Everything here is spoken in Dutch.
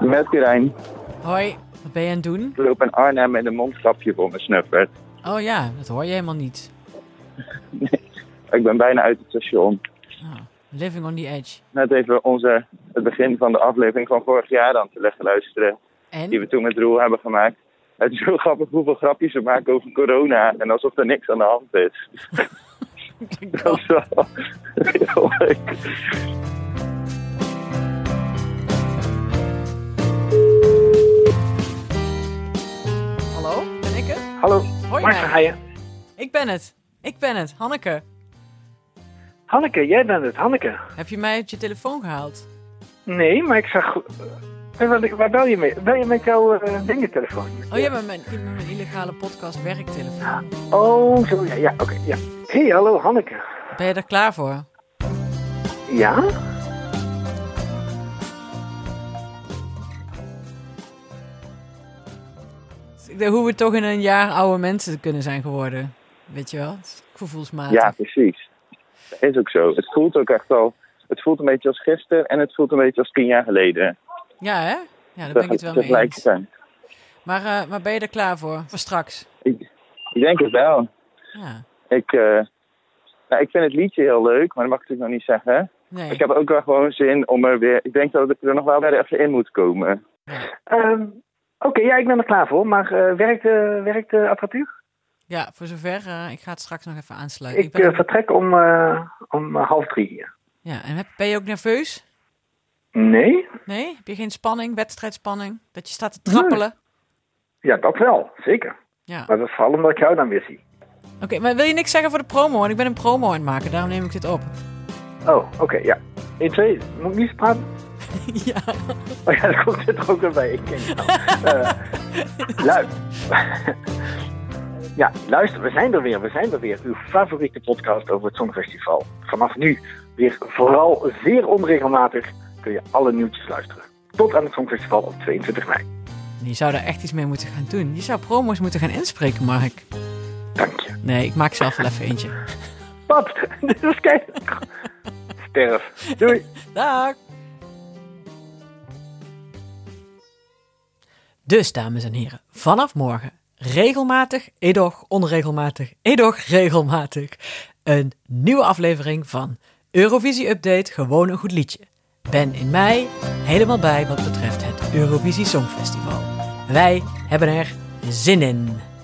Met Quirijn. Hoi, wat ben je aan het doen? Ik loop in Arnhem met een mondkapje voor mijn snuffert. Oh ja, dat hoor je helemaal niet. Ik ben bijna uit het station. Ah, living on the edge. Net even onze, het begin van de aflevering van vorig jaar aan te leggen luisteren. Die En? we toen met Roel hebben gemaakt. Het is heel grappig hoeveel grapjes we maken over corona. En alsof er niks aan de hand is. Dat is wel heel leuk. Hallo, ben ik het? Hallo, Hoi, Martha Mark. Haaien. Ik ben het. Ik ben het, Hanneke. Hanneke, jij bent het, Hanneke. Heb je mij uit je telefoon gehaald? Nee, maar ik zag... Eh, wat- Waar bel je mee? Bel je met jouw eh dingentelefoon? Oh ja, met mijn, met mijn illegale podcast werktelefoon. Oh, zo, ja, ja oké, ja. hey, hallo Hanneke. Ben je er klaar voor? Ja? Ik denk Hoe we toch in een jaar oude mensen kunnen zijn geworden. Weet je wel? Gevoelsmatig. Ja, precies. Dat is ook zo. Het voelt ook echt al... Het voelt een beetje als gisteren en het voelt een beetje als tien jaar geleden. Ja, hè? Ja, daar ben ik het wel mee eens. Tegelijkertijd. Maar, eh, maar ben je er klaar voor? Voor straks? Ik, ik denk het wel. Ja. Ik, eh, nou, ik vind het liedje heel leuk, maar dat mag ik natuurlijk nog niet zeggen. Nee. Ik heb ook wel gewoon zin om er weer... Ik denk dat ik er nog wel weer even in moet komen. Ehm, oké, ja, ik ben er klaar voor, maar eh, werkt, de werkt de apparatuur? Ja, voor zover. eh, ik ga het straks nog even aansluiten. Ik ben eh, vertrek om, eh, om eh, half drie. Ja, en heb- ben je ook nerveus? Nee? Nee? Heb je geen spanning, wedstrijdspanning? Dat je staat te trappelen? Ja, dat wel, zeker. Ja. Maar dat is vooral omdat ik jou dan weer zie. Oké, maar wil je niks zeggen voor de promo? Want ik ben een promo aan het maken, daarom neem ik dit op. Oh, oké, ja. 1, 2, moet ik niet praten? ja. Oh ja, dat komt er ook weer bij. Ik ken het al. Eh, lui- ja, luister, we zijn er weer. We zijn er weer. Uw favoriete podcast over het Songfestival. Vanaf nu weer vooral zeer onregelmatig kun je alle nieuwtjes luisteren. Tot aan het Songfestival op 22 mei. Je zou daar echt iets mee moeten gaan doen. Je zou promo's moeten gaan inspreken, Mark. Dank je. Nee, ik maak zelf wel even eentje. Pap, dit is keihard. Sterf. Doei. Dag! Dus, dames en heren, vanaf morgen regelmatig, edoch onregelmatig, edoch regelmatig een nieuwe aflevering van Eurovisie Update Gewoon een Goed Liedje. Ben in mei helemaal bij wat betreft het Eurovisie Songfestival. Wij hebben er zin in.